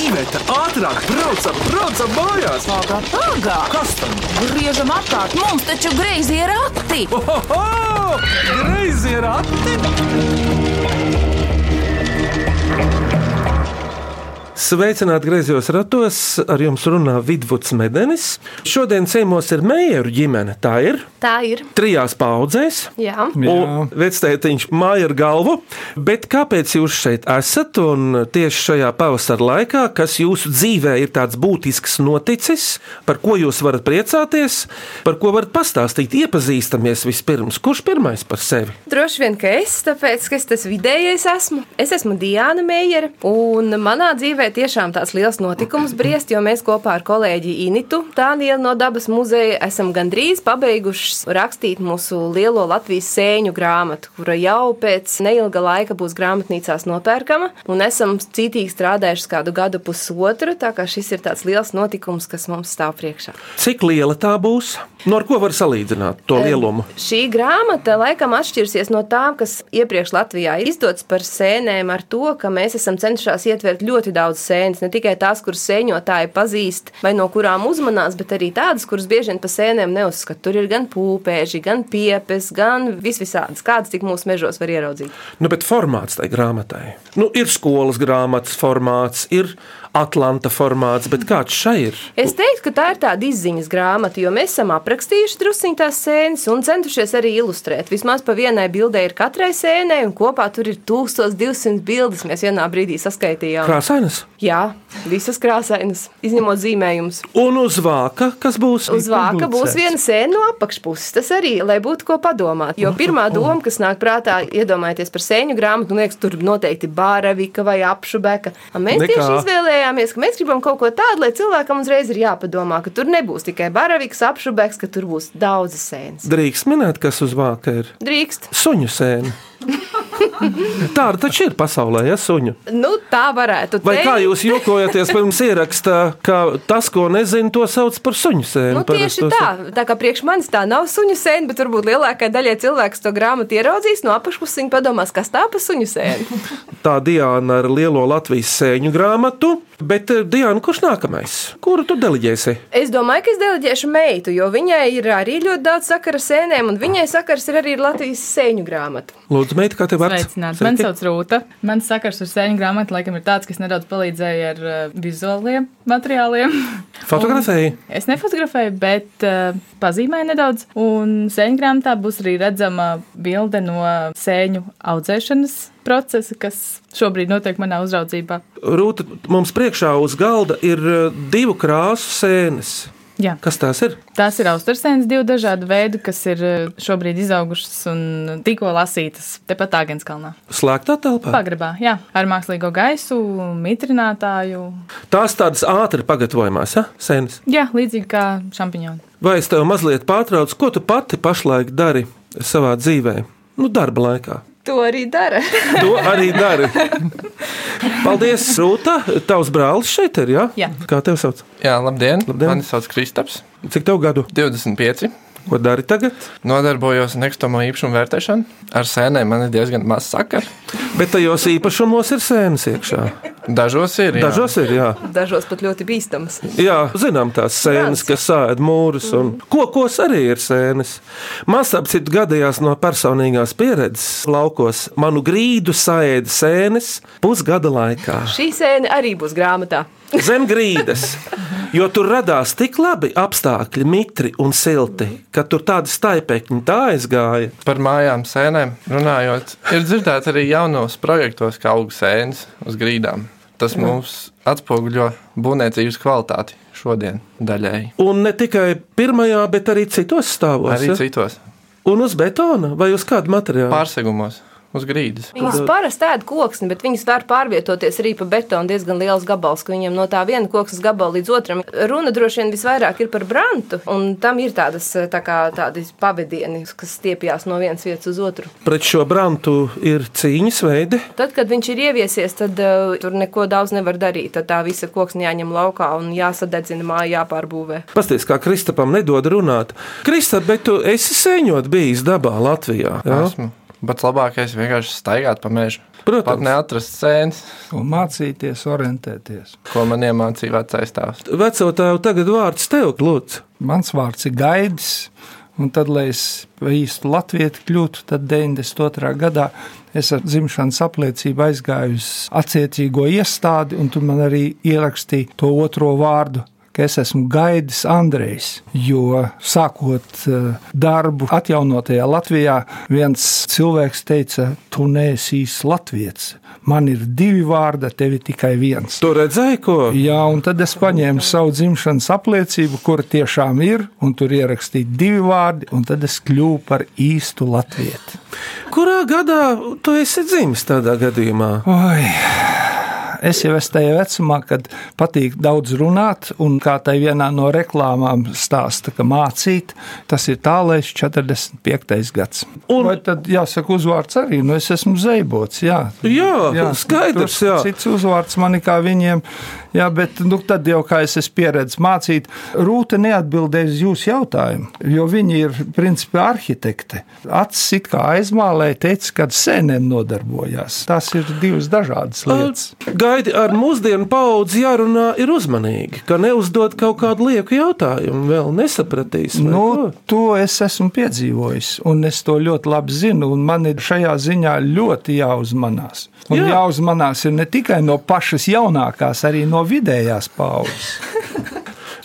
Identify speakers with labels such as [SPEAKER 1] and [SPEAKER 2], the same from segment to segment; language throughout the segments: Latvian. [SPEAKER 1] Imants, ātrāk, braucam, braucam mājās!
[SPEAKER 2] Pagā, pagā!
[SPEAKER 1] Kas tam?
[SPEAKER 2] Griežam apkārt, mums taču greizi ir akti!
[SPEAKER 1] Ohoho! Greizi ir akti!
[SPEAKER 3] Sveicināti griezos ratos, ar jums runā Vidvuds Medenis. Šodien ciemos ir Meijeru ģimene. Tā ir
[SPEAKER 4] Tā ir.
[SPEAKER 3] trijās paudzēs.
[SPEAKER 4] Jā.
[SPEAKER 3] Un vectētiņš māja ar galvu. Bet kāpēc jūs šeit esat un tieši šajā pavasara laikā, kas jūsu dzīvē ir tāds būtisks noticis, par ko jūs varat priecāties, par ko varat pastāstīt, iepazīstamies vispirms? Kurš pirmais par sevi?
[SPEAKER 4] Droši vien, ka es, tāpēc, ka es tas vidējais esmu. Es esmu Diana Meijere, un manā dzīvē tiešām tāds liels notikums briest, jo mēs kopā ar kolēģi Initu Tānielu no Dabas muzeja esam gandrīz pabeiguši rakstīt mūsu lielo Latvijas sēņu grāmatu, kura jau pēc neilga laika būs grāmatnīcās nopērkama, un esam cītīgi strādājuši kādu gadu pusotru, tā kā šis ir tāds liels notikums, kas mums stāv priekšā.
[SPEAKER 3] Cik liela tā būs? No ar ko var salīdzināt to lielumu?
[SPEAKER 4] Šī grāmata laikam atšķirsies no tām, kas iepriekš Latvijā ir izdotas par sēnēm, ar to, ka mēs esam centušies ietvert ļoti daudz sēnes. Ne tikai tās, kuras sēņotāji pazīst, vai no kurām uzmanās, bet arī tādas, kuras bieži vien par sēnēm neuzskata. Tur ir gan pūpēži, gan piepes, gan visvisādas, kādas tik mūsu mežos var ieraudzīt.
[SPEAKER 3] Nu, bet formāts tai grāmatai. Nu, ir skolas grāmatas formāts, ir Atlanta formāts, bet kāds šai ir?
[SPEAKER 4] Es teiktu, ka tā ir tāda izziņas grāmata, jo mēs esam aprakstījuši druskuļus tās sēnes un centušies arī ilustrēt. Vismaz pa vienai bildei ir katrai sēnei, un kopā tur ir 1200 bildes. Mēs vienā brīdī saskaitījām.
[SPEAKER 3] Krāsainas.
[SPEAKER 4] Jā, visas krāsainas, izņemot zīmējumus.
[SPEAKER 3] Un uz vāka, kas būs?
[SPEAKER 4] Uz vāka būs viena sēna no apakšpuses. Tas arī, lai būtu ko padomāt. Jo pirmā doma, kas nāk prātā, iedomājieties par sēņu grāmatu, nu, liekas, tur noteikti bāravika vai apšubeka. A, Mēs
[SPEAKER 3] Nekā.
[SPEAKER 4] Nekā. tieši izvēlējāmies, ka mēs gribam kaut ko tādu, lai cilvēkam uzreiz ir jāpadomā, ka tur nebūs tikai bāraviks, apšubeks, ka tur būs daudzas sēnes.
[SPEAKER 3] Drīkst minēt, kas uz vāka ir?
[SPEAKER 4] Drīkst.
[SPEAKER 3] Suņu sēne. Tāda taču ir pasaulē, ja suņu.
[SPEAKER 4] Nu, tā varētu
[SPEAKER 3] Vai kā
[SPEAKER 4] teikt.
[SPEAKER 3] jūs jokojaties pirms ierakstā, ka tas, ko nezinu, to sauc par suņu sēni?
[SPEAKER 4] Nu, tieši
[SPEAKER 3] Parasti
[SPEAKER 4] tā.
[SPEAKER 3] to
[SPEAKER 4] Tā kā priekš manis tā nav suņu sēne, bet varbūt lielākajai daļai cilvēks to grāmatu ieraudzīs no apakšpuses, viņa padomās, kas tā pa suņu sēni.
[SPEAKER 3] tā Diana ar lielo Latvijas sēņu grāmatu. Bet, eh, Diana, kurš nākamais? Kuru tu deliģēsi?
[SPEAKER 4] Es domāju, ka es deleģēšu meitu, jo viņai ir arī ļoti daudz sakara sēnēm, un viņai sakars ir arī ar Latvijas sēņu grāmata.
[SPEAKER 3] Lūdzu, meita, kā tev vārds?
[SPEAKER 5] Sveicināti!
[SPEAKER 3] Sveiki.
[SPEAKER 5] Mani sauc Rūta. Mans sakars ar sēņu grāmatu laikam ir tāds, kas nedaudz palīdzēja ar uh, vizuāliem materiāliem.
[SPEAKER 3] Fotografēji?
[SPEAKER 5] Un Es nefotografēju, bet uh, pazīmēju nedaudz. Un sēņu grāmatā būs arī redzama bilde no sēņu audzēšanas procesa, kas šobrīd notiek manā uzraudzībā.
[SPEAKER 3] Rūta, mums priekšā uz galda ir eh, divu krāsu sēnes.
[SPEAKER 5] Jā.
[SPEAKER 3] Kas tās ir?
[SPEAKER 5] Tās ir austersēnes, divi dažādi veidi, kas ir uh, šobrīd izaugušas un tikko lasītas tepat Agenskalnā.
[SPEAKER 3] Slēgtā telpā.
[SPEAKER 5] Pagrabā, jā, ar mākslīgo gaisu, mitrinātāju.
[SPEAKER 3] Tās tādas ātri pagatavojamās ja? sēnes.
[SPEAKER 5] Jā, līdzīgi kā šampiņoni.
[SPEAKER 3] Vai es tev mazliet pārtraucu, ko tu pati pašlaik dari savā dzīvē? Nu, darba laikā.
[SPEAKER 4] To arī dara.
[SPEAKER 3] To arī dari. Paldies, Rūta. Tavs brālis šeit ir, jā?
[SPEAKER 5] Jā.
[SPEAKER 3] Kā tev sauc?
[SPEAKER 6] Jā, labdien!
[SPEAKER 3] Labdien.
[SPEAKER 6] labdien. Mani sauc Kristaps,
[SPEAKER 3] Cik tev gadu?
[SPEAKER 6] 25.
[SPEAKER 3] Ko dari tagad?
[SPEAKER 6] Nodarbojos ar nekustamo īpašumu vērtēšanu. Ar sēnēm man ir diezgan maz sakara.
[SPEAKER 3] Bet tajos īpašumos ir sēnes iekšā.
[SPEAKER 6] Dažos ir. Jā.
[SPEAKER 3] Dažos ir, jā.
[SPEAKER 4] Dažos pat ļoti bīstams.
[SPEAKER 3] Jā, zinām, tās sēnes, kas sēž mūrus un kokos arī ir sēnes. Man ap citu gadījās no personīgās pieredzes laukos. Manu grīdu sēda sēnes pusgada laikā.
[SPEAKER 4] Šī sēne arī būs grāmatā.
[SPEAKER 3] Zem grīdas. Jo tur radās tik labi apstākļi, mitri un silti, ka tur tādi staipēkņi tā aizgāja.
[SPEAKER 6] Par mājām sēnēm runājot, ir dzirdēts arī jaunos projektos, kā aug sēnes uz grīdām. Tas mums atspoguļo būvniecības kvalitāti šodien daļēji.
[SPEAKER 3] Un ne tikai pirmajā, bet arī citos stāvos.
[SPEAKER 6] Arī
[SPEAKER 3] ja?
[SPEAKER 6] citos
[SPEAKER 3] Un uz betona vai uz kādu materiālu?
[SPEAKER 6] pārsegumos, uz grīdas.
[SPEAKER 4] Viņas parasti ēd koksni, bet viņas var pārvietoties arī pa betonu diezgan liels gabals, ka viņiem no tā viena koksnes gabala līdz otram. Runa droši vien visvairāk ir par brantu, un tam ir tādas tā kā, tādas pavadieni, kas stiepjas no vienas vietas uz otru.
[SPEAKER 3] Pret šo brantu ir cīņas veidi.
[SPEAKER 4] Tad, kad viņš ir ieviesies, tad uh, tur neko daudz nevar darīt. Tad tā visa koksne jāņem laukā un jāsadedzina māja, jāpārbūvē.
[SPEAKER 3] Pastāstiet, kā Kristapam nedod runāt. Kristap, bet tu esi sēņot bijis dabā Latvijā. jā?
[SPEAKER 6] Esmu. Pats labākais ir vienkārši staigāt pa mežu. Pat
[SPEAKER 3] Protams,
[SPEAKER 6] neatrast sēnes,
[SPEAKER 7] un mācīties, orientēties.
[SPEAKER 6] ko man iemācīja vecais tēvs.
[SPEAKER 3] veco tēvu tagad vārds tev, Lūdzu.
[SPEAKER 7] Mans vārds ir Gaidis, un tad, lai es pa īstu latviešu kļūtu, tad 92. gadā es ar dzimšanas apliecību aizgāju uz attiecīgo iestādi, un tur man arī ierakstīja to otro vārdu. ka Es esmu gaidījis Andrejs, jo sākot eh, darbu atjaunotajā Latvijā, viens cilvēks teica, tu neesi īsts latviečs. Man ir divi vārdi, tev ir tikai viens.
[SPEAKER 3] Tu redzēji, ko?
[SPEAKER 7] Jā, un tad es paņēmu savu dzimšanas apliecību, kur tiešām ir, un tur ierakstīju divi vārdi, un tad es kļuvu par īstu latvieti.
[SPEAKER 3] Kurā gadā tu esi dzimis tādā gadījumā?
[SPEAKER 7] Oi. Es jau esmu tajā vecumā, kad patīk daudz runāt, un kā tai vienā no reklāmām stāsta, ka mācīt, tas ir tālais 45. gads.
[SPEAKER 3] Un-
[SPEAKER 7] Un... Vai tad jāsaka uzvārds arī? Nu, es esmu Zeibots, jā.
[SPEAKER 3] Jā, skaidrs,
[SPEAKER 7] tur
[SPEAKER 3] jā.
[SPEAKER 7] Cits uzvārds man ir kā viņiem. Jā, bet nu, tad jau kā es esmu pieredzējis mācīt, Rūta neatbildēja uz jūsu jautājumu, jo viņi ir principā arhitekti. Acis it kā aizmālēja, teica, ka sēnēm nodarbojās. Tās ir divas dažādas lietas.
[SPEAKER 3] Gaidi ar mūsdienu paudzi jārunā ir uzmanīgi, ka neuzdod kaut kādu lieku jautājumu, vēl nesapratīs. vai
[SPEAKER 7] Nu,
[SPEAKER 3] ko?
[SPEAKER 7] to es esmu piedzīvojis, un es to ļoti labi zinu. un Man ir šajā ziņā ļoti jāuzmanās. Un
[SPEAKER 3] Jā.
[SPEAKER 7] Jā. jāuzmanās ir ne tikai no pašas jaunākās, arī no vidējās paudzes.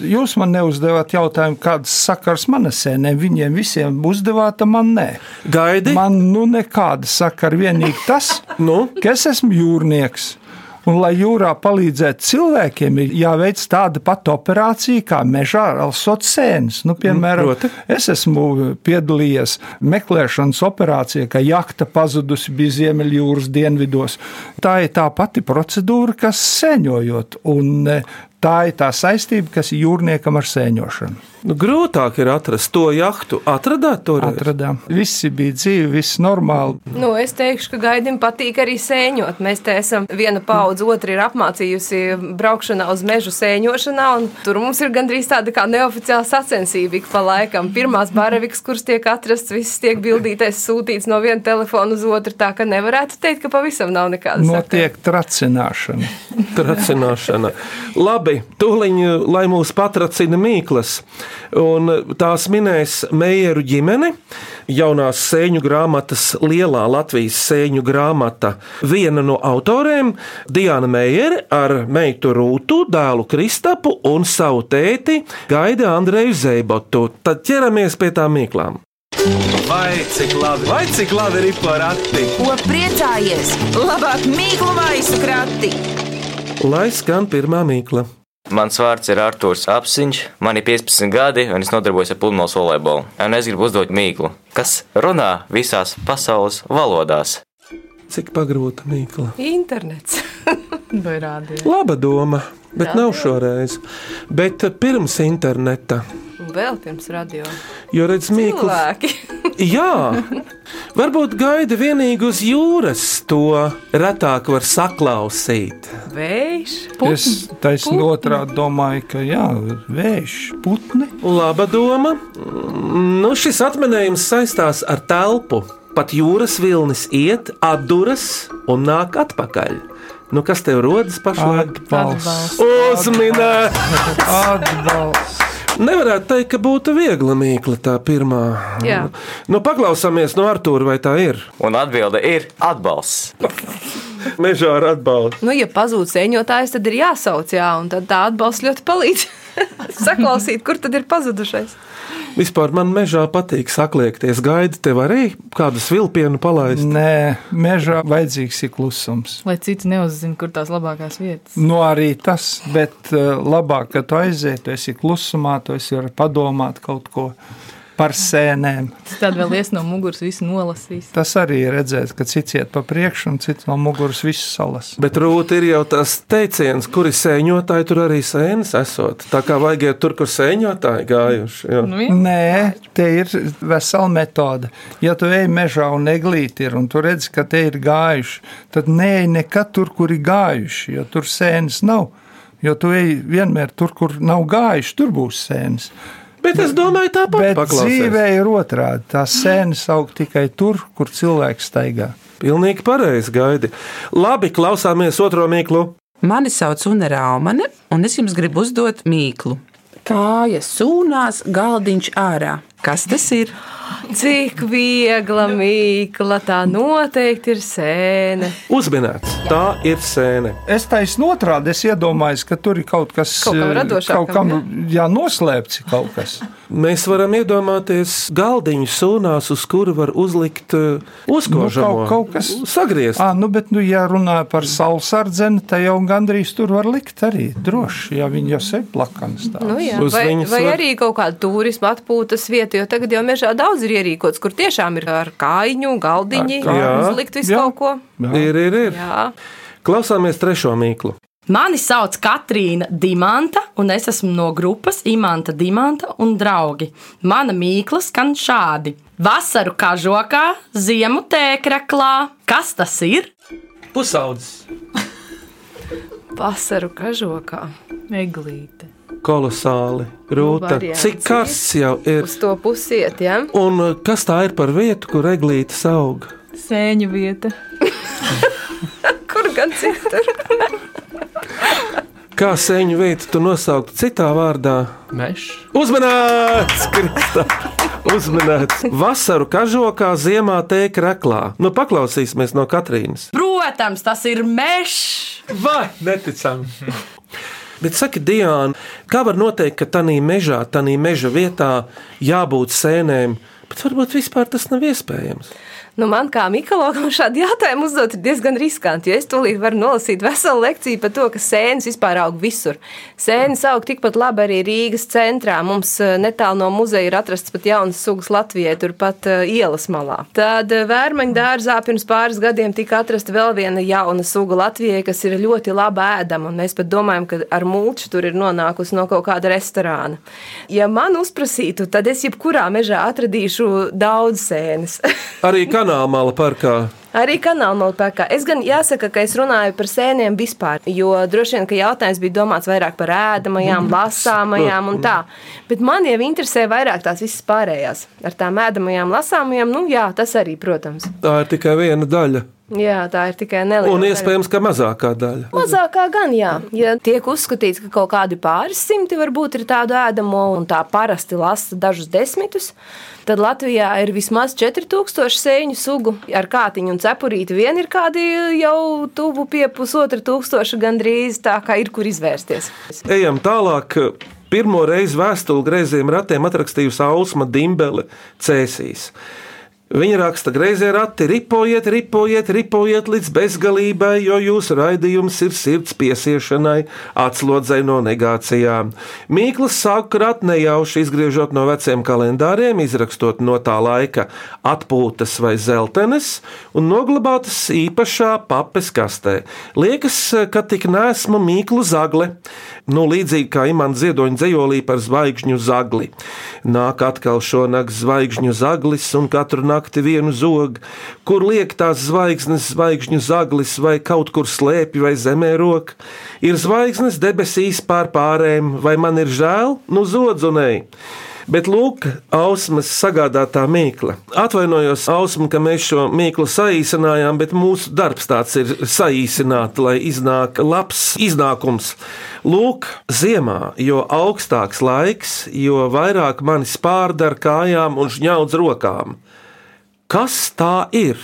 [SPEAKER 7] Jūs man neuzdevāt jautājumu, kādas sakars manas sēnēm. Viņiem visiem uzdevāt, a man nē.
[SPEAKER 3] Gaidi, Man...
[SPEAKER 7] Man nu nekāda sakara, vienīgi tas,
[SPEAKER 3] nu,
[SPEAKER 7] ka es esmu jūrnieks. Un, lai jūrā palīdzētu cilvēkiem, ir jāveic tāda pati operācija, kā mežā ar alsot sēnes. Nu, piemēram,
[SPEAKER 3] proti.
[SPEAKER 7] es esmu piedalījies meklēšanas operācijā, ka jahta pazudusi bija Ziemeļjūras dienvidos. Tā ir tā pati procedūra, kas sēņojot, un eh, tā ir tā saistība, kas ir jūrniekam ar sēņošanu.
[SPEAKER 3] nu, grūtāk ir atrast to jahtu. Atradāt to reizi?
[SPEAKER 7] Atradām. Visi bija dzīvi, viss normāli.
[SPEAKER 4] Nu, es teikšu, ka gaidim patīk arī sēņot. Mēs te esam viena paudze, otra ir apmācījusi braukšanā uz mežu sēņošanā, un tur mums ir gandrīz tāda kā neoficiāla sacensība ik pa laikam. Pirmās baravikas, kuras tiek atrasts, viss tiek bildītais, sūtīts no viena telefona uz otru, tā ka nevarētu teikt, ka pavisam nav nekāda sakara.
[SPEAKER 7] Notiek tracināšana.
[SPEAKER 3] Tracināšana. Labi, tūliņ, lai mūs patracina mīklas. Un eh, tās minēs Meijeru ģimene, jaunās sēņu grāmatas, lielā Latvijas sēņu grāmata. Viena no autoriem - Diana Meijere ar meitu Rūtu, dēlu Kristapu un savu tēti Gaida Andreju Zeibotu. Tad ķeramies pie tām mīklām.
[SPEAKER 1] Vai cik labi, vai cik labi ir porati?
[SPEAKER 2] Ko priecājies? Labāk mīklu maisu krati!
[SPEAKER 3] Lai skan pirmā mīkla.
[SPEAKER 8] Mans vārds ir Arthurs Apziņš, man ir 15 gadi, un es nodarbojos ar pludmales volejbolu. Un es gribu uzdot mīklu, kas runā visās pasaules valodās.
[SPEAKER 3] Cik pagrūta mīkla?
[SPEAKER 4] Internets.
[SPEAKER 5] Vai rādīt?
[SPEAKER 3] Laba doma, bet nav šoreiz. Bet eh, pirms interneta,
[SPEAKER 4] Un vēl pirms radio.
[SPEAKER 3] jo redz, mīkla.
[SPEAKER 4] Cilvēki.
[SPEAKER 3] Jā, varbūt gaida vienīgi uz jūras, to retāk var saklausīt.
[SPEAKER 4] Vējš.
[SPEAKER 7] Es taisnīgi otrādi domāju, ka jā, vējš, putni.
[SPEAKER 3] Laba doma. Mm, Nu, šis atminējums saistās ar telpu. Pat jūras vilnis iet, atduras un nāk atpakaļ. Nu, kas tev rodas pašlaik?
[SPEAKER 7] Atbalsts.
[SPEAKER 3] Uzminēt!
[SPEAKER 7] Atbalsts.
[SPEAKER 3] Nevarētu teikt, ka būtu viegla mīkla tā pirmā.
[SPEAKER 4] Jā.
[SPEAKER 3] Nu, paklausāmies no Artūra, vai tā ir.
[SPEAKER 8] Un atbilde ir atbalsts.
[SPEAKER 3] Mežā ar atbalstu.
[SPEAKER 4] Nu, ja pazūd sēņotājs, tad ir jāsauc, jā, un tad tā atbalsts ļoti palīdz. Saklausīt, kur tad ir pazudušais.
[SPEAKER 3] Vispār man mežā patīk sakliekties. Gaidi tev arī kādu svilpienu palaist.
[SPEAKER 7] Nē, mežā vajadzīgs ir klusums.
[SPEAKER 5] Lai citi neuzzina, kur tās labākās vietas.
[SPEAKER 7] Nu, arī tas, bet eh, labāk, ka tu aiziet, tu esi klusumā, tu esi var padomāt kaut ko par sēnēm.
[SPEAKER 5] Tad vēl ies no muguras visu nolasīs.
[SPEAKER 7] Tas arī ir redzēt, ka cits iet pa priekšu un cits no muguras visu salas.
[SPEAKER 3] Bet rūti ir jau tas teiciens, kuri sēņotāji tur arī sēnes esot. Tā kā vajag iet tur, kur sēņotāji gājuši. Jā.
[SPEAKER 5] Nu, jā.
[SPEAKER 7] Nē, te ir vesela metode. Ja tu ej mežā un eglīti ir, un tu redz, ka te ir gājuši, tad nē, nekad tur, kur ir gājuši, jo tur sēnes nav. Jo tu ej vienmēr tur, kur nav gājuši, tur būs sēnes.
[SPEAKER 3] Bet es domāju, tāpat
[SPEAKER 7] Bet dzīvē
[SPEAKER 3] paklausīsim.
[SPEAKER 7] ir otrādi. Tā sēnes aug tikai tur, kur cilvēks staigā.
[SPEAKER 3] Pilnīgi pareizi gaidi. Labi, klausāmies otro mīklu.
[SPEAKER 9] Mani sauc Una Raumane, un es jums gribu uzdot mīklu. Kāja sūnās, galdiņš ārā. Kas tas ir?
[SPEAKER 4] Cik viegla mīkla tā noteikti ir sēne.
[SPEAKER 3] Uzminēts, tā ir sēne.
[SPEAKER 7] Es taisnu otrādi, es iedomājos, ka tur ir kaut kas
[SPEAKER 4] Kaut kam
[SPEAKER 7] eh,
[SPEAKER 4] radošākam,
[SPEAKER 7] kaut kam jā, noslēpts kaut kas.
[SPEAKER 3] Mēs varam iedomāties galdiņu sūnās, uz kura var uzlikt eh, uzkožamo.
[SPEAKER 7] Nu, kaut- kaut kas-
[SPEAKER 3] sagriezt.
[SPEAKER 7] À, nu, bet, nu, ja runā par saulsardzeni, tad jau gandrīz tur var likt arī droši, ja viņi jau sev plakanas tā.
[SPEAKER 4] Nu, jā,
[SPEAKER 3] Uz
[SPEAKER 4] vai
[SPEAKER 3] viņas
[SPEAKER 4] vai
[SPEAKER 3] var-
[SPEAKER 4] arī kaut kāda turisma atpūtas vieta, jo tagad jau mežā daudz ir ierīkots, kur tiešām ir ar kājiņu, galdiņu,
[SPEAKER 3] Ar kāju.
[SPEAKER 4] uzlikt visu
[SPEAKER 7] Jā.
[SPEAKER 4] kaut ko.
[SPEAKER 3] Ir, ir, ir.
[SPEAKER 4] Jā.
[SPEAKER 3] Klausāmies trešo mīklu.
[SPEAKER 10] Mani sauc Katrīna Dimanta, un es esmu no grupas Imants Dimanta un draugi. Mana mīkla skan šādi: Vasaru kažokā, ziemu tēkraklā. Kas tas ir?
[SPEAKER 1] Pusaudzis.
[SPEAKER 4] Vasaru kažokā.
[SPEAKER 5] Eglīte.
[SPEAKER 3] Kolosāli, rūta.
[SPEAKER 4] variants
[SPEAKER 3] Cik karsts jau ir?
[SPEAKER 4] Uz to pusiet, jā.
[SPEAKER 3] Un eh, kas tā ir par vietu, kur eglītes aug?
[SPEAKER 5] Sēņu vieta.
[SPEAKER 4] Kur gan citur?
[SPEAKER 3] Kā sēņu vietu tu nosaukt citā vārdā?
[SPEAKER 6] Mežs.
[SPEAKER 3] Uzmanīts, Kristā! Uzmanīts! Vasaru kažokā, ziemā tēka reklā. Nu, paklausīsimies no Katrīnas.
[SPEAKER 10] Protams, tas ir mežs.
[SPEAKER 1] Vai neticami?
[SPEAKER 3] Bet saka, Diana, kā var noteikt, ka tādā mežā, tādā meža vietā jābūt sēnēm, bet varbūt vispār tas nav iespējams.
[SPEAKER 4] Nu, man kā mikologam šādi jautājumi uzdot ir diezgan riskanti, jo es tūlīt varu nolasīt veselu lekciju par to, ka sēnes vispār aug visur. Sēnes aug tikpat labi arī Rīgas centrā. Mums eh, netālu no muzeja ir atrasts pat jauns sugas Latvijai, turpat eh, ielas malā. Tad eh, vērmeņu dārzā pirms pāris gadiem tika atrasta vēl viena jauna suga Latvijai, kas ir ļoti labi ēdama, un mēs pat domājam, ka ar mulču tur ir nonākusi no kaut kāda restorāna. Ja man uzprasītu, tad es jebkurā mežā atradīšu daudz sēnes.
[SPEAKER 3] Arī kanāla parkā.
[SPEAKER 4] Arī kanāla nolpēkā. Es gan jāsaka, ka es runāju par sēnēm vispār, jo droši vien, ka jautājums bija domāts vairāk par ēdamajām,
[SPEAKER 3] Mm.
[SPEAKER 4] lasāmajām un tā. Bet man jau interesē vairāk tās visas pārējās. Ar tām ēdamajām, lasāmajām, nu jā, tas arī, protams.
[SPEAKER 3] Tā ir tikai viena daļa,
[SPEAKER 4] Jā, tā ir tikai neliela.
[SPEAKER 3] un
[SPEAKER 4] daļa.
[SPEAKER 3] iespējams, ka mazākā daļa.
[SPEAKER 4] Mazākā gan, jā. Ja tiek uzskatīts, ka kaut kādi pāris simti varbūt ir tādu ēdamo, un tā parasti lasa dažus desmitus, tad Latvijā ir vismaz 4000 sēņu sugu. Ar kātiņu un cepurīti vien ir kādi jau tuvu pie pusotra tūkstoša gandrīz, tā kā ir kur izvērsties.
[SPEAKER 3] Ejam tālāk. Pirmo reizi vēstuli greiziem ratiem atrakstījusi Ausma Dimbele Cēsīs. Viņa raksta, grazē rati, ripojiet, ripojiet, ripojiet līdz bezgalībai, jo jūsu raidījums ir sirds piesiešanai, atslodzei no negācijām. Mīklas sāk krāt nejauši izgriežot no veciem kalendāriem, izrakstot no tā laika atpūtas vai zeltenes un noglabātas īpašā papes kastē. Liekas, ka tik nesmu mīklu zagle, nu līdzīgi kā imanta ziedoņa dzējolī par zvaigžņu zagli. Nāk atkal šonakt zvaigžņu zaglis un katru nakti vienu zog, kur liek tās zvaigznes, zvaigžņu zaglis vai kaut kur slēpj vai zemē rok. Ir zvaigznes debesīs pār pārēm, vai man ir žēl? Nu, zodzunēji! Bet lūk, ausmas sagādātā mīkla. Atvainojos, ausma, ka mēs šo mīklu saīsinājām, bet mūsu darbs tāds ir saīsināt, lai iznāk labs iznākums. Lūk, ziemā, jo augstāks laiks, jo vairāk mani spārda ar kājām un žņaudz rokām. Kas tā ir?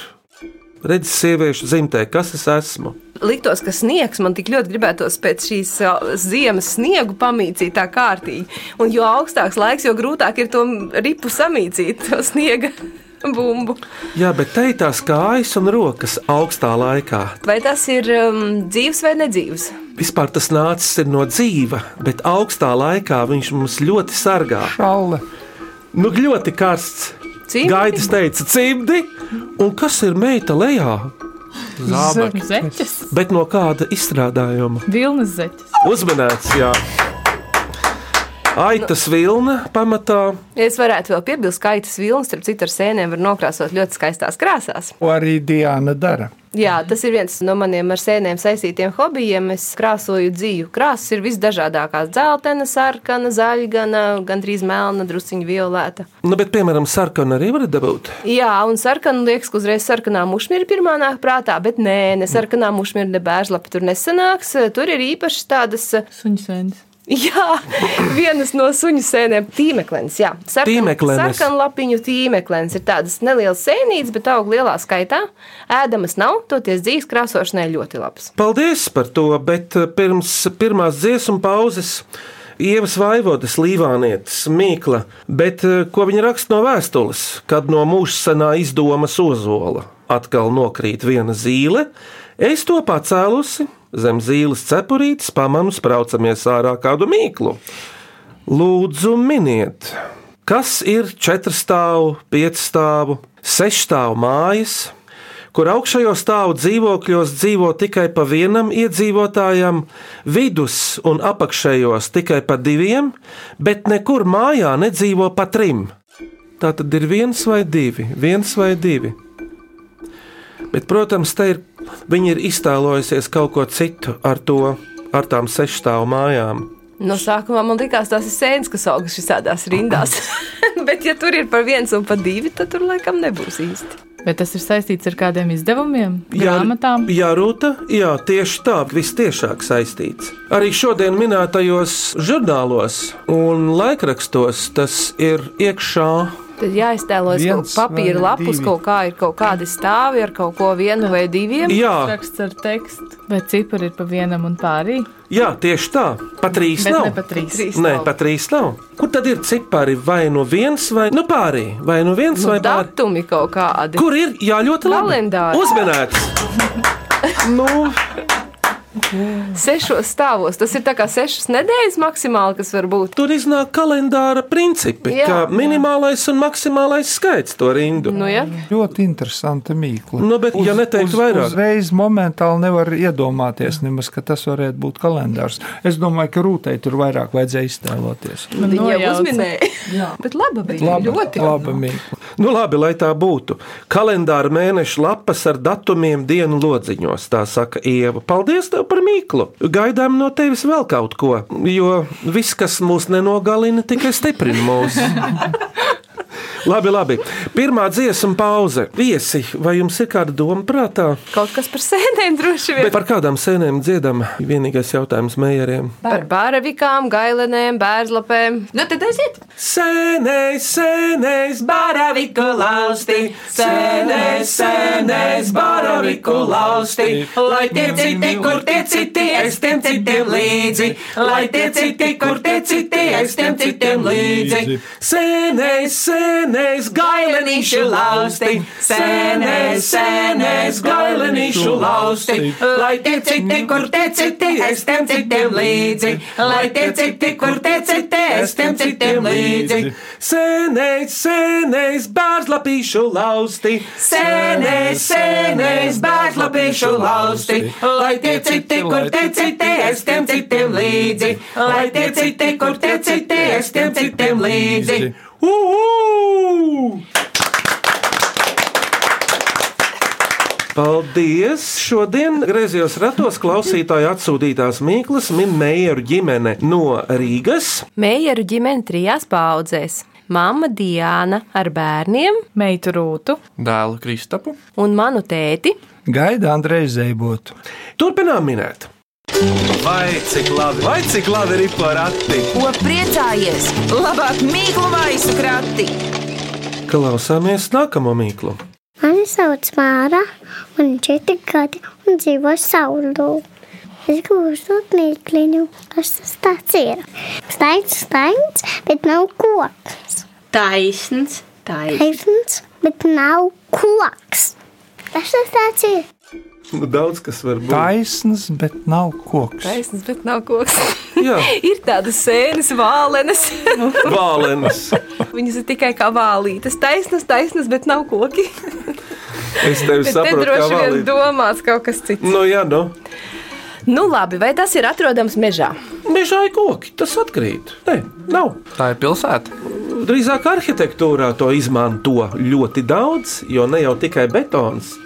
[SPEAKER 3] Redzi, sieviešu dzimtē, kas es esmu?
[SPEAKER 4] Liktos, ka sniegs man tik ļoti gribētos pēc šīs ā, ziemas sniegu pamīcīt tā kārtīgi. Un jo augstāks laiks, jo grūtāk ir to ripu samīcīt, to sniega bumbu.
[SPEAKER 3] Jā, bet teitās kājas un rokas augstā laikā.
[SPEAKER 4] Vai tas ir um, dzīves vai nedzīves?
[SPEAKER 3] Vispār tas nācis ir no dzīva, bet augstā laikā viņš mums ļoti sargā.
[SPEAKER 7] Šalle.
[SPEAKER 3] Nu, ļoti karsts.
[SPEAKER 4] Cimdi?
[SPEAKER 3] Gaidis teica, cimdi, un kas ir meita lejā,
[SPEAKER 6] Zābaki.
[SPEAKER 5] Zeķes.
[SPEAKER 3] bet no kāda izstrādājuma?
[SPEAKER 5] Vilnas zeķes.
[SPEAKER 3] Uzmanīts, jā. Aita Svilna pamatā.
[SPEAKER 4] Es varētu vēl piebilst, ka aitas vilnas, starp citu, ar sēnēm var nokrāsot ļoti skaistās krāsās.
[SPEAKER 7] Ko arī Diana dara?
[SPEAKER 4] Jā, tas ir viens no maniem ar sēnēm saistītiem hobijiem. Es krāsoju dzīvu. Krāsas ir visdažādākās - dzeltena, sarkana, zaļgana, gandrīz melna, drusciņa violēta.
[SPEAKER 3] Nu, bet, piemēram, sarkanu arī var dabūt.
[SPEAKER 4] Jā, un sarkana liekas, ka uzreiz sarkanā mušņa ir pirmā nāk prātā, bet nē, ne sarkanā mušņa ir ne bēžlapa, tur nesanāks. Tur ir īpašas tādas.
[SPEAKER 5] Suņu sēnes.
[SPEAKER 4] Jā, vienas no suņu sēnēm - tīmeklens. Jā,
[SPEAKER 3] Tīmeklenes.
[SPEAKER 4] sarkanlapiņu tīmeklens ir tādas nelielas sēnītes, bet aug lielā skaitā. Ēdamas nav, toties dzīves krāsošanai ļoti labs.
[SPEAKER 3] Paldies par to, bet eh, pirms pirmās dziesmu pauzes. Ievas Vaivodas, Līvānietis, Mīkla, bet eh, ko viņa raksta no vēstules, kad no mūžsanā izdoma sozola atkal nokrīt viena zīle, es to pacēlusi, zem zīles cepurītes pamanu spraucamies ārā kādu mīklu. Lūdzu, miniet, kas ir četrstāvu, piecstāvu, sešstāvu mājas, kur augšējo stāvu dzīvokļos dzīvo tikai pa vienam iedzīvotājam, vidus un apakšējos tikai pa diviem, bet nekur mājā nedzīvo pa trim. Tā tad ir viens vai divi, viens vai divi. Bet, protams, te ir viņi ir iztēlojusies kaut ko citu ar to, ar tām sešstāvu mājām.
[SPEAKER 4] No sākumā man likās, tas ir sēnes, kas aug šādās rindās. Bet, ja tur ir par viens un par divi, tad tur laikam nebūs īsti.
[SPEAKER 5] Vai tas ir saistīts ar kādiem izdevumiem, grāmatām?
[SPEAKER 3] Jā, Rūta, jā, tieši tā, visciešāk saistīts. Arī šodien minētajos žurnālos un laikrakstos tas ir iekšā.
[SPEAKER 4] Tad jāiztēlojas kaut
[SPEAKER 7] Viens
[SPEAKER 4] kā papīra
[SPEAKER 7] vai
[SPEAKER 4] lapus,
[SPEAKER 7] divi.
[SPEAKER 4] kaut kā ir kaut kādi stāvi ar kaut ko vienu vai diviem.
[SPEAKER 3] Jā,
[SPEAKER 5] Raksts ar tekstu, vai cipari ir pa vienam un pārī?
[SPEAKER 3] jā tieši tā, pa trīs
[SPEAKER 5] Bet
[SPEAKER 3] nav.
[SPEAKER 5] ne pa trīs.
[SPEAKER 4] Trīs
[SPEAKER 3] Nē,
[SPEAKER 4] nav.
[SPEAKER 3] pat trīs nav. Kur tad ir cipari? Vai no viens, vai nu pārī, vai no viens,
[SPEAKER 4] Nu,
[SPEAKER 3] vai pārī?
[SPEAKER 4] datumi kaut kādi.
[SPEAKER 3] Kur ir? Jā, ļoti labi.
[SPEAKER 4] Kalendāri.
[SPEAKER 3] Uzmanēts. nu,
[SPEAKER 4] Sešos stāvos. Tas ir tā kā sešas nedēļas maksimāli, kas var būt.
[SPEAKER 3] tur iznāk kalendāra principi,
[SPEAKER 4] Jā.
[SPEAKER 3] jā, kā minimālais un maksimālais skaits to rindu.
[SPEAKER 4] Nu, ja?
[SPEAKER 7] Ļoti interesanta mīkla.
[SPEAKER 3] Nu, bet, ja neteiktu vairāk.
[SPEAKER 7] uzreiz momentāli nevar iedomāties, nemaz, ka tas varētu būt kalendārs. Es domāju, ka Rūtai tur vairāk vajadzēja iztēloties.
[SPEAKER 5] Man
[SPEAKER 4] Viņa jau
[SPEAKER 5] nojauca.
[SPEAKER 4] uzminēja. Jā. Bet laba bija.
[SPEAKER 7] Labi,
[SPEAKER 4] ļoti
[SPEAKER 7] laba mīkla.
[SPEAKER 3] Nu, labi, lai tā būtu. Kalendāra mēneša lapas ar datumiem dienu lodziņos, tā saka Ieva. Paldies tev par mīklu. Gaidām no tevis vēl kaut ko, jo viss, kas mūs nenogalina, tikai stiprina mūs. Labi, labi. Pirmā dziesma pauze. Viesi, vai jums ir kāda doma prātā?
[SPEAKER 4] Kaut kas par sēnēm droši vien.
[SPEAKER 3] Bet par kādām sēnēm dziedam? Vienīgais jautājums mējiem.
[SPEAKER 4] Par baravikām, gailenēm, bērnlapēm.
[SPEAKER 9] Nu, tad aiziet!
[SPEAKER 3] Sēnēs, sēnēs, baraviku lausti, sēnēs, sēnēs, baraviku lausti, lai tie citi, kur tie citi, es tiem citiem līdzi, lai tie citi, kur tie citi, es tiem citiem līdzi. Sēnēs, sēnēs, gailenīšu lausti, sēnēs, sēnēs, gailenīšu lausti, lai tie citi, kur tie citi, es tiem citiem līdzi, lai tie citi, kur tie citi, es tiem citiem līdzi. Sēnēs, sēnēs, bērnslapīšu lausti, sēnēs, sēnēs, bērnslapīšu lausti, lai tie citi, kur tie citi, es tiem citiem līdzi, lai tie citi, kur tie citi, es tiem citiem līdzi. Uhu! Paldies! Šodien griezījos ratos klausītāju atsūtītās Mīklas Minēju ģimene no Rīgas.
[SPEAKER 4] Meijeru ģimene trijās paudzēs. Māma Diana ar bērniem
[SPEAKER 5] Meitu rūtu,
[SPEAKER 6] Dēlu Kristapu.
[SPEAKER 4] un manu tēti.
[SPEAKER 7] Gaida Andrejs Zeibotu.
[SPEAKER 3] Turpinām minēt!
[SPEAKER 1] Vai cik labi, vai cik labi ir porakti?
[SPEAKER 2] Ko priecājies? Labāk mīklu maisu krati!
[SPEAKER 3] Klausāmies nākamo mīklu.
[SPEAKER 11] Mani sauc Māra, man ir četri gadi un dzīvo saulē. Es grūstu mīkliņu, kas tas tāds ir. Staigns, staigns, bet nav koks.
[SPEAKER 12] Taisns, taisns.
[SPEAKER 11] Taisns, bet nav koks. Tas tas tāds ir.
[SPEAKER 3] Nu, daudz kas var būt.
[SPEAKER 7] Taisns, bet nav koks.
[SPEAKER 4] Taisnība, bet nav koks.
[SPEAKER 3] Jā.
[SPEAKER 4] ir tādas sēnes, vālenes.
[SPEAKER 3] Vālenis.
[SPEAKER 4] Viņas ir tikai kā vālītas. Taisnas, taisnas, bet nav koki.
[SPEAKER 3] Es tevi
[SPEAKER 4] Bet te
[SPEAKER 3] saprotu, kā
[SPEAKER 4] droši vien
[SPEAKER 3] vālīt.
[SPEAKER 4] domās kaut kas cits.
[SPEAKER 3] Nu, jā, nu.
[SPEAKER 4] Nu, labi, vai tas ir atrodams mežā?
[SPEAKER 3] Mežā ir koki, tas atkrīt. Nē, nav.
[SPEAKER 6] Tā ir pilsēta.
[SPEAKER 3] Drīzāk arhitektūrā to izmanto ļoti daudz, jo ne jau tikai betons.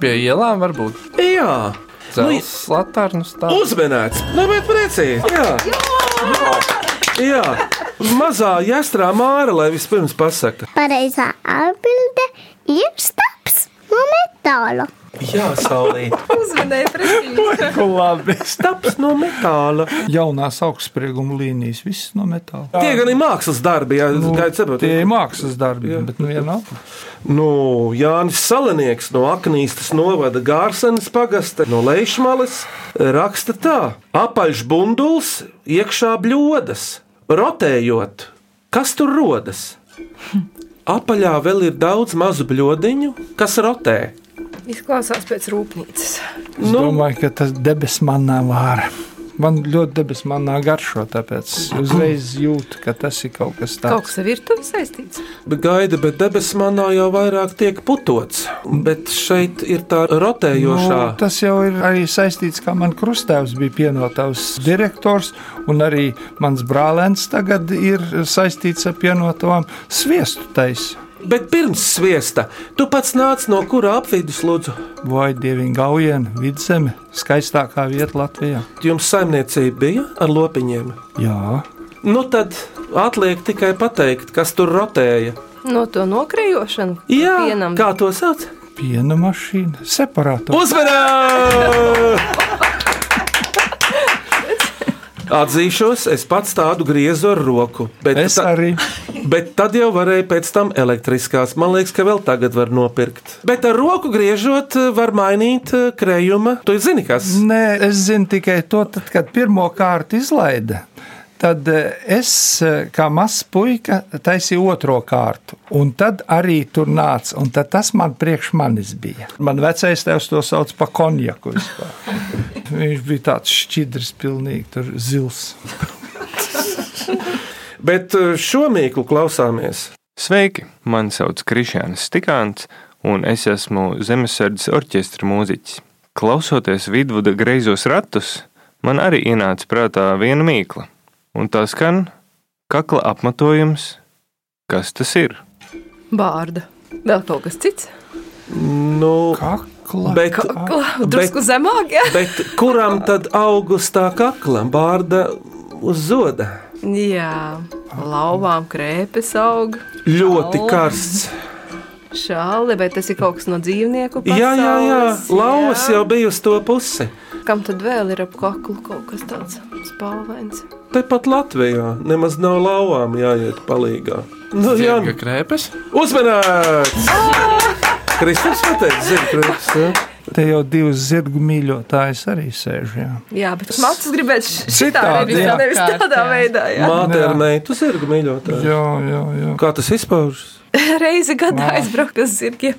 [SPEAKER 6] Pie ielām varbūt.
[SPEAKER 3] Jā,
[SPEAKER 6] Cels, nu, latarnus tā.
[SPEAKER 3] Uzmanīts, nu, bet precīzi. Jā. Jā. Mazā jāstrā māra, lai vispirms pasakta.
[SPEAKER 11] Pareizā atbilde ir stabs no metāla.
[SPEAKER 3] Jā, saulīt.
[SPEAKER 4] Uzmanēji precīzi.
[SPEAKER 7] Labi.
[SPEAKER 3] Stabs no metāla.
[SPEAKER 7] Jaunās augstsprieguma līnijas, viss no metāla.
[SPEAKER 3] Tie gan ir mākslas darbi, jā,
[SPEAKER 7] Nu,
[SPEAKER 3] nu, kā jūs saprotat.
[SPEAKER 7] Tie ir mākslas darbi, jā. bet nu vienalga.
[SPEAKER 3] Nu, Jānis Salinieks no Aknīstas novada Gārsenes pagasta no Leišmales raksta tā: apaļš bunduls, iekšā bļodas, rotējot. Kas tur rodas? Apaļā vēl ir daudz mazu bļodiņu, kas rotē.
[SPEAKER 4] Izklausās pēc rūpnīcas.
[SPEAKER 7] Es nu. domāju, ka tas debesis manā vārā. Man ļoti debesis manā garšo, tāpēc uzreiz jūtu, ka tas ir kaut kas
[SPEAKER 4] Kaut
[SPEAKER 7] tāds.
[SPEAKER 4] kas ar virtuvi saistīts.
[SPEAKER 3] Bet gaida, bet debesis manā jau vairāk tiek putots. Bet šeit ir tā rotējošā.
[SPEAKER 7] Nu, tas jau ir arī saistīts, kā man krustēvs bija pienotavs direktors, un arī mans brālēns tagad ir saistīts ar pienotavām sviestu taisa.
[SPEAKER 3] Bet pirms sviesta, tu pats nāc no kura apvidus, lūdzu?
[SPEAKER 7] Vai dievīgi gaujiena, vidzeme, skaistākā vieta Latvijā?
[SPEAKER 3] Jums saimniecība bija ar lopiņiem.
[SPEAKER 7] Jā,
[SPEAKER 3] Nu tad atliek tikai pateikt, kas tur rotēja.
[SPEAKER 4] No to nokrējošanu.
[SPEAKER 3] Jā,
[SPEAKER 4] pienam.
[SPEAKER 3] kā to sauc?
[SPEAKER 7] piena mašīna, separātors.
[SPEAKER 3] Uzmanīgi! Atzīšos, es pats tādu griezu ar roku. Bet,
[SPEAKER 7] Es arī.
[SPEAKER 3] bet tad jau varēja pēc tam elektriskās. Man liekas, ka vēl tagad var nopirkt. Bet ar roku griežot, var mainīt eh, krējuma. Tu zini, kas?
[SPEAKER 4] Mm.
[SPEAKER 7] Nē, es zinu tikai to, tad, kad pirmo kārtu izlaida. Tad eh, es, eh, kā mazs puika, taisīju otro kārtu. Un tad arī tur nāca. Un tad tas man priekš manis bija. Man vecais tevs to sauc par konjaku. vispār. Viņš bija tāds šķidrs, pilnīgi tur zils.
[SPEAKER 3] Bet eh, šo mīklu klausāmies.
[SPEAKER 13] Sveiki! Mani sauc Krišjāns Stikāns, un es esmu Zemesardzes orķestra mūziķis. Klausoties vidvuda greizos ratus, man arī ienāca prātā viena mīkla, un tā skan kakla apmetojums. Kas tas ir?
[SPEAKER 4] Bārda. Vēl kaut kas cits.
[SPEAKER 3] Nu,
[SPEAKER 7] Kakla.
[SPEAKER 3] Bet,
[SPEAKER 4] Kakla, drusku zemāk. Jā.
[SPEAKER 3] bet kuram tad augustā kakla bārda uz zoda?
[SPEAKER 4] jā, lauvām krēpes aug.
[SPEAKER 3] Ļoti
[SPEAKER 4] Šalli.
[SPEAKER 3] karsts.
[SPEAKER 4] Šādi, vai tas ir kaut kas no dzīvnieku puses?
[SPEAKER 3] Jā, jā, jā. Lauvas jau bija uz to pusi.
[SPEAKER 4] Kam tad vēl ir ap kaklu kaut kas tāds spalvains?
[SPEAKER 3] Tepat Latvijā nemaz nav lauvām jāiet palīgā. Nu, jā,
[SPEAKER 6] Zirga krēpes.
[SPEAKER 3] uzmanīts! Kristus pateica, zina, krēpes. Ja?
[SPEAKER 7] Te jau divas zirgu mīļotājas arī sēž. Jā.
[SPEAKER 4] Jā, bet mācis gribētu š- šitā
[SPEAKER 7] Citādi,
[SPEAKER 4] veidā,
[SPEAKER 7] jā.
[SPEAKER 4] nevis tādā veidā. Jā.
[SPEAKER 3] Māte ar
[SPEAKER 7] Jā.
[SPEAKER 3] meitu zirgu mīļotāju.
[SPEAKER 7] Jā, jā, jā.
[SPEAKER 3] Kā tas izpaužas?
[SPEAKER 4] Reizi gadā aizbraukt uz zirgiem.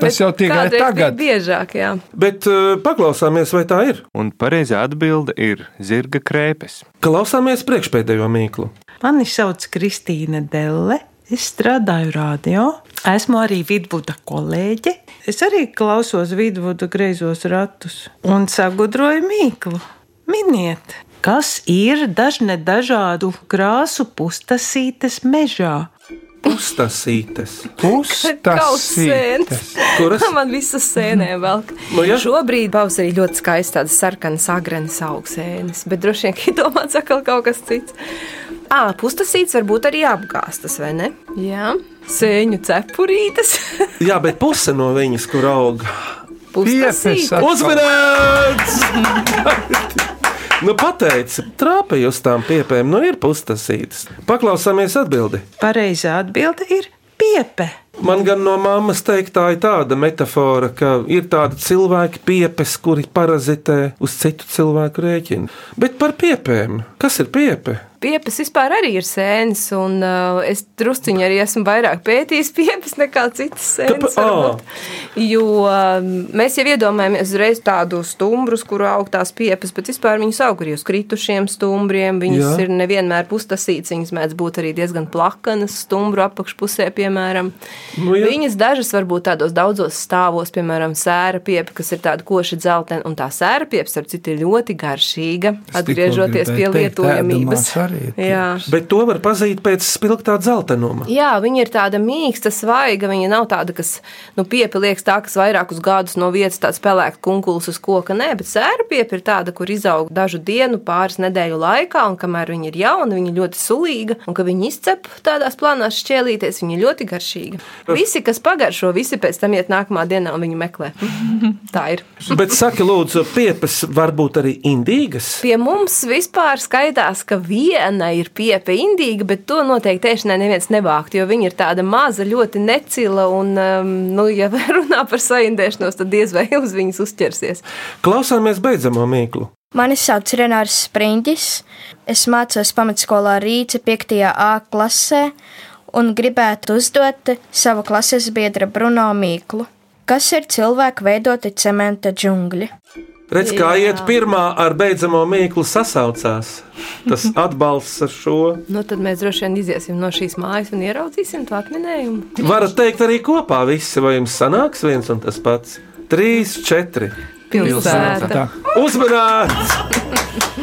[SPEAKER 7] Tas jau tikai tagad.
[SPEAKER 4] Bija biežāk, jā.
[SPEAKER 3] Bet eh, paklausāmies, vai tā ir.
[SPEAKER 13] Un pareizā atbilde ir zirga krēpes.
[SPEAKER 3] Klausāmies priekšpēdējo mīklu.
[SPEAKER 14] Mani sauc Kristīne Delle. Es strādāju radio. Esmu arī vidvuda kolēģe. Es arī klausos vidvuda greizos ratus un sagudroju mīklu. Miniet, kas ir dažne dažādu krāsu pustasītes mežā?
[SPEAKER 3] Pustasītes.
[SPEAKER 7] Pustasītes.
[SPEAKER 3] Kuras?
[SPEAKER 4] Man visas sēnēm velk.
[SPEAKER 3] Nu, jā.
[SPEAKER 4] Šobrīd pavasarī ļoti skaisti tādas sarkanas, agrenas augstsēnes, bet droši vien ka ir domāts atkal kaut kas cits. Ā, pustasīts varbūt arī apgāstas, vai ne? Jā. Sēņu cepurītes.
[SPEAKER 3] Jā, bet puse no viņas, kur auga.
[SPEAKER 7] Piepes
[SPEAKER 4] Pustasītes.
[SPEAKER 7] atkal.
[SPEAKER 3] Uzmanīts! Nu, pateici, trāpīja uz tām piepēm, nu ir pustasītas. Paklausāmies atbildi.
[SPEAKER 14] Pareizā atbilde ir piepe.
[SPEAKER 3] Man gan no mammas teiktā ir tāda metāfora, ka ir tādi cilvēki piepes, kuri parazitē uz citu cilvēku rēķinu. Bet par piepēm, kas ir piepe?
[SPEAKER 4] Piepas vispār arī ir sēnes, un uh, es drusciņā arī esmu vairāk pētījis piepas nekā citas sēnes.
[SPEAKER 3] Kāpēc?
[SPEAKER 4] varbūt. Jo um, mēs jau iedomājamies uzreiz tādu stumbrus, kur aug tās piepas, bet vispār viņas aug arī uz kritušiem stumbriem. Viņas
[SPEAKER 15] Jā.
[SPEAKER 4] ir nevienmēr pustasītas, viņas mēdz būt arī diezgan plakanas stumbru apakšpusē, piemēram.
[SPEAKER 15] Nu, jā.
[SPEAKER 4] viņas dažas varbūt tādos daudzos stāvos, piemēram, sēra piepa, kas ir tāda koši dzeltena, un tā sēra piepa, starp citu, ir ļoti garšīga, atgriežoties pie
[SPEAKER 7] gribēju teikt,
[SPEAKER 4] lietojamības.
[SPEAKER 7] ēdamās arī ir
[SPEAKER 4] Jā.
[SPEAKER 3] Bet to var pazīt pēc spilgtā dzeltenuma.
[SPEAKER 4] Jā, viņa ir tāda mīksta, svaiga. Viņa nav tāda, kas nu, piepiliekas tā, kas vairākus gadus no vietas tāds pelēks kunkulis uz koka. Nē, bet sēra piepa ir tāda, kur izaug dažu dienu, pāris nedēļu laikā, un kamēr viņa ir jauna, viņa ir ļoti sulīga, un kad viņa izcep tādās plānās šķēlīties, viņa ir ļoti garšīga. Visi, kas pagaršo, visi pēc tam iet nākamā dienā un viņu meklē. Tā ir.
[SPEAKER 3] Bet saki, lūdzu, piepas var būt arī indīgas.
[SPEAKER 4] Pie mums vispār skaitās, ka viena ir piepe indīga, bet to noteikti tēšanai neviens nevākt, jo viņa ir tāda maza, ļoti necila, un, um, nu, ja runā par saindēšanos, tad diez vai uz viņas uzķersies.
[SPEAKER 3] Klausāmies beidzamo mīklu.
[SPEAKER 16] Mani sauc Renārs Sprindis. Es mācos pamatskolā Rīta 5. A klasē un gribētu uzdot savu klases biedru Bruno Mīklu. Kas ir cilvēku veidoti cementa džungļi?
[SPEAKER 3] Redz, kā iet pirmā ar beidzamo mīklu sasaucās. Tas atbalsts ar šo.
[SPEAKER 4] Nu, tad mēs droši vien iziesim no šīs mājas un ieraudzīsim to atminējumu.
[SPEAKER 3] Varat teikt arī kopā visi, vai jums sanāks viens un tas pats. Trīs, četri.
[SPEAKER 4] Pilsēta. Pilsēta.
[SPEAKER 3] Uzmanīts!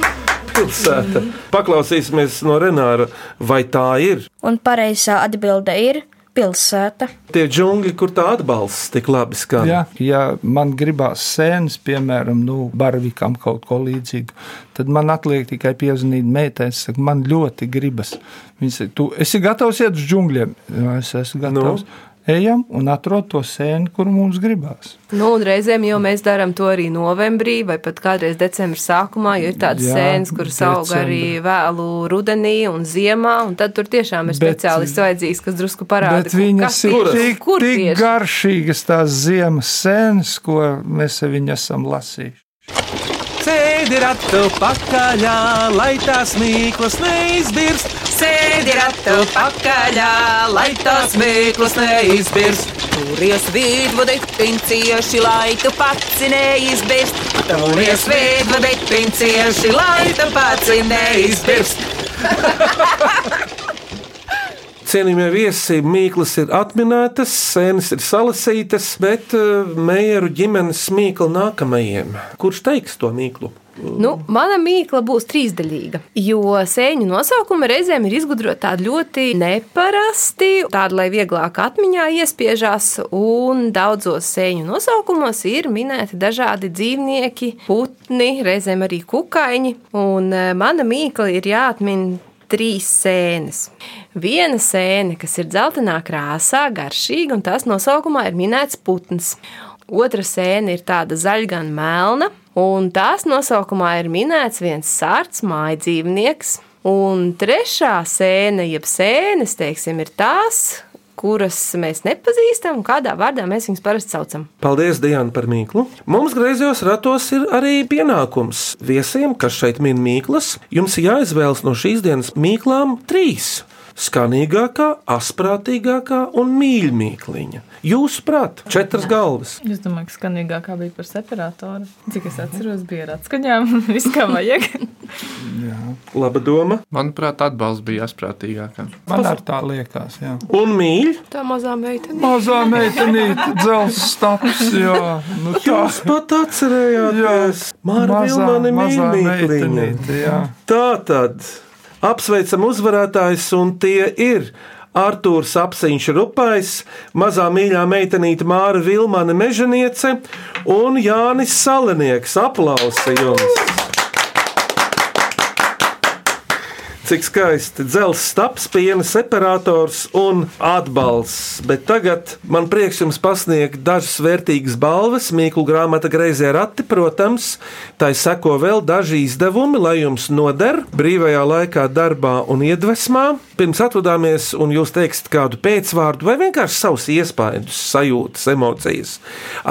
[SPEAKER 3] Pilsēta. Paklausīsimies no Renāra, vai tā ir.
[SPEAKER 16] Un pareizā atbilde ir pilsēta.
[SPEAKER 3] Tie džungļi, kur tā atbalsts tik labi skan.
[SPEAKER 7] Jā, ja man gribās sēnes, piemēram, nu, barvikam kaut ko līdzīgu, tad man atliek tikai piezvanīt meitai. Es saku, man ļoti gribas. Viņa saka, tu esi gatavs iet uz džungļiem. Jā, es esmu gatavs. Nu? Ejam un atrodam to sēni, kur mums gribās.
[SPEAKER 4] Nu, un reizēm jau mēs darām to arī novembrī vai pat kādreiz decembra sākumā, jo ir tādas
[SPEAKER 7] Jā,
[SPEAKER 4] sēnes, kuras aug arī vēlu rudenī un ziemā, un tad tur tiešām ir
[SPEAKER 7] Bet-
[SPEAKER 4] speciālists vajadzīgs, kas drusku parāda,
[SPEAKER 7] Bet viņas
[SPEAKER 4] kas
[SPEAKER 7] ir
[SPEAKER 4] tieši-
[SPEAKER 7] tik,
[SPEAKER 4] kur
[SPEAKER 7] tik
[SPEAKER 4] tieši.
[SPEAKER 7] garšīgas tās ziemas sēnes, ko mēs ar viņu esam lasījuši.
[SPEAKER 1] Sēdi ratu pakaļā, lai tās mīklas neizbirst. Sēdi ratu pakaļā, lai tās mīklas neizbirst.
[SPEAKER 17] Turies vidvadi, pincieši, lai tu pats neizbirst. Turies vidvadi, pincieši, lai tu pats neizbirst.
[SPEAKER 3] Cienījamie viesi, mīklas ir atminētas, sēnes ir salasītas, bet eh, mēru ģimenes mīkla nākamajiem. Kurš teiks to mīklu?
[SPEAKER 4] Nu, mana mīkla būs trīsdaļīga, jo sēņu nosaukumi reizēm ir izgudroti tādi ļoti neparasti, tādi, lai vieglāk atmiņā iespiežās, un daudzos sēņu nosaukumos ir minēti dažādi dzīvnieki, putni, reizēm arī kukaiņi, un eh, mana mīkla ir jāatmin trīs sēnes. Viena sēne, kas ir dzeltenā krāsā, garšīga, un tās nosaukumā ir minēts putns. Otra sēne ir tāda zaļa, gan melna, un tās nosaukumā ir minēts viens sārts mājas dzīvnieks. Un trešā sēne, jeb sēnes, teiksim, ir tās, kuras mēs nepazīstam, un kādā vārdā mēs viņus parasti saucam.
[SPEAKER 3] Paldies, Diana, par mīklu. Mums griezos ratos ir arī pienākums viesiem, kas šeit min mīklas. Jums jāizvēlas no šīs dienas mīklām trīs - skanīgākā, asprātīgākā un mīļākā. Jūsu prāt, četras galvas.
[SPEAKER 5] Es domāju, ka skanīgākā bija par separatoru. Cik es atceros, bija ar atskaņām. Viss kā vajag.
[SPEAKER 3] Laba doma.
[SPEAKER 6] Manuprāt, atbalsts bija asprātīgākam.
[SPEAKER 7] Man ar tā liekas, jā.
[SPEAKER 3] Un mīļi.
[SPEAKER 4] Tā mazā meitene.
[SPEAKER 7] Mazā meitenīte, dzelzs stāvs. Jā, nu tā.
[SPEAKER 3] Jūs pat atcerējāties, Mārta
[SPEAKER 7] Mazā-
[SPEAKER 3] Vilmane
[SPEAKER 7] mazā
[SPEAKER 3] mīlīte.
[SPEAKER 7] meitenīte, jā.
[SPEAKER 3] Tā tad apsveicam uzvarētājus, un tie ir Artūrs Apsiņš Rupais, mazā mīļā meitenīte Māra Vilmane Mežaniece un Jānis Salenieks. Aplausi jums! Cik skaisti dzelzs taps, piena separators un atbalsts. Bet tagad man prieks jums pasniegt dažas vērtīgas balvas, mīklu grāmata Greizē Rati, protams. Tai seko vēl daži izdevumi, lai jums noder brīvajā laikā, darbā un iedvesmā. Pirms atvadāmies un jūs teiksiet kādu pēcvārdu vai vienkārši savus iespaidus, sajūtas, emocijas.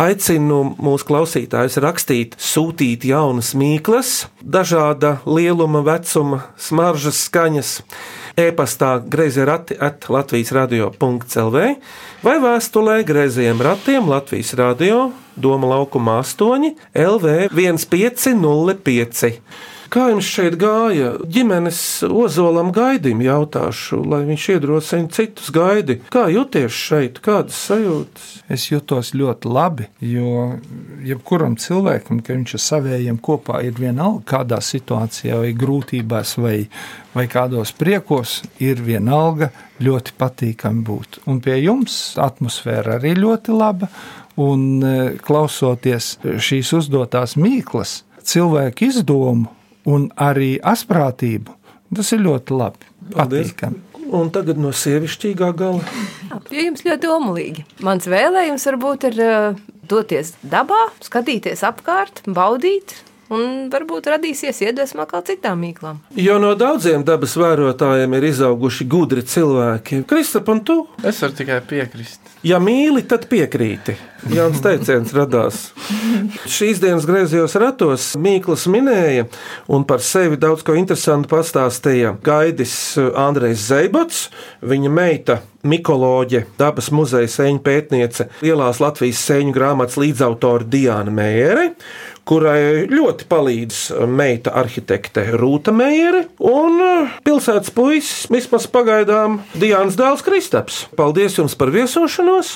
[SPEAKER 3] Aicinu mūsu klausītājus rakstīt, sūtīt jaunas mīklas, dažāda lieluma, vecuma, smaržas, skaņas. E-pastā grazījuma rati at Latvijas radio.clv vai vēstulē grazījuma ratiem Latvijas radio Doma laukuma 8 LV 1505. Kā jums šeit gāja? Ģimenes ozolam gaidim jautāšu, lai viņš iedrošina citus gaidi. Kā jūties šeit? Kādas sajūtas?
[SPEAKER 7] Es jutos ļoti labi, jo jebkuram cilvēkam, kad viņš ar saviem kopā ir vienalga, kādā situācijā, vai grūtībās, vai, vai kādos priekos, ir vienalga ļoti patīkami būt. Un pie jums atmosfēra arī ļoti laba, un e, klausoties šīs uzdotās mīklas, cilvēku izdomu un arī asprātību, tas ir ļoti labi. Patīkami.
[SPEAKER 3] Un tagad no sievišķīgā gala.
[SPEAKER 4] Pie jums ļoti omulīgi. Mans vēlējums varbūt ir uh, doties dabā, skatīties apkārt, baudīt. Un varbūt radīsies iedvesma kā citām mīklām.
[SPEAKER 3] Jo no daudziem dabas vērotājiem ir izauguši gudri cilvēki. Kristap, un tu?
[SPEAKER 6] Es varu tikai piekrist.
[SPEAKER 3] Ja mīli, tad piekrīti. Jauns teiciens radās. Šīs dienas griezījos ratos, Mīkls minēja un par sevi daudz ko interesantu pastāstīja. Gaidis eh, Andrejs Zeibots, viņa meita. Mikoloģe, dabas muzeja sēņu pētniece, lielās Latvijas sēņu grāmatas līdzautore Diana Mēre, kurai ļoti palīdz meita arhitekte Rūta Meijere un eh, pilsētas puisis, vismaz pagaidām Diāns Dēls Kristaps. Paldies jums par viesošanos!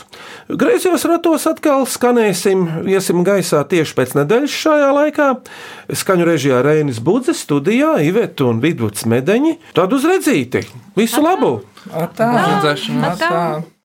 [SPEAKER 3] Griezos ratos atkal skanēsim, iesim gaisā tieši pēc nedēļas šajā laikā. Skaņu režijā Reinis Budzes, studijā Iveta un Vidvuds Medeņi. Tad uz redzīti! Visu labu!
[SPEAKER 7] Atā.
[SPEAKER 6] Redzēšanās.
[SPEAKER 4] Atā.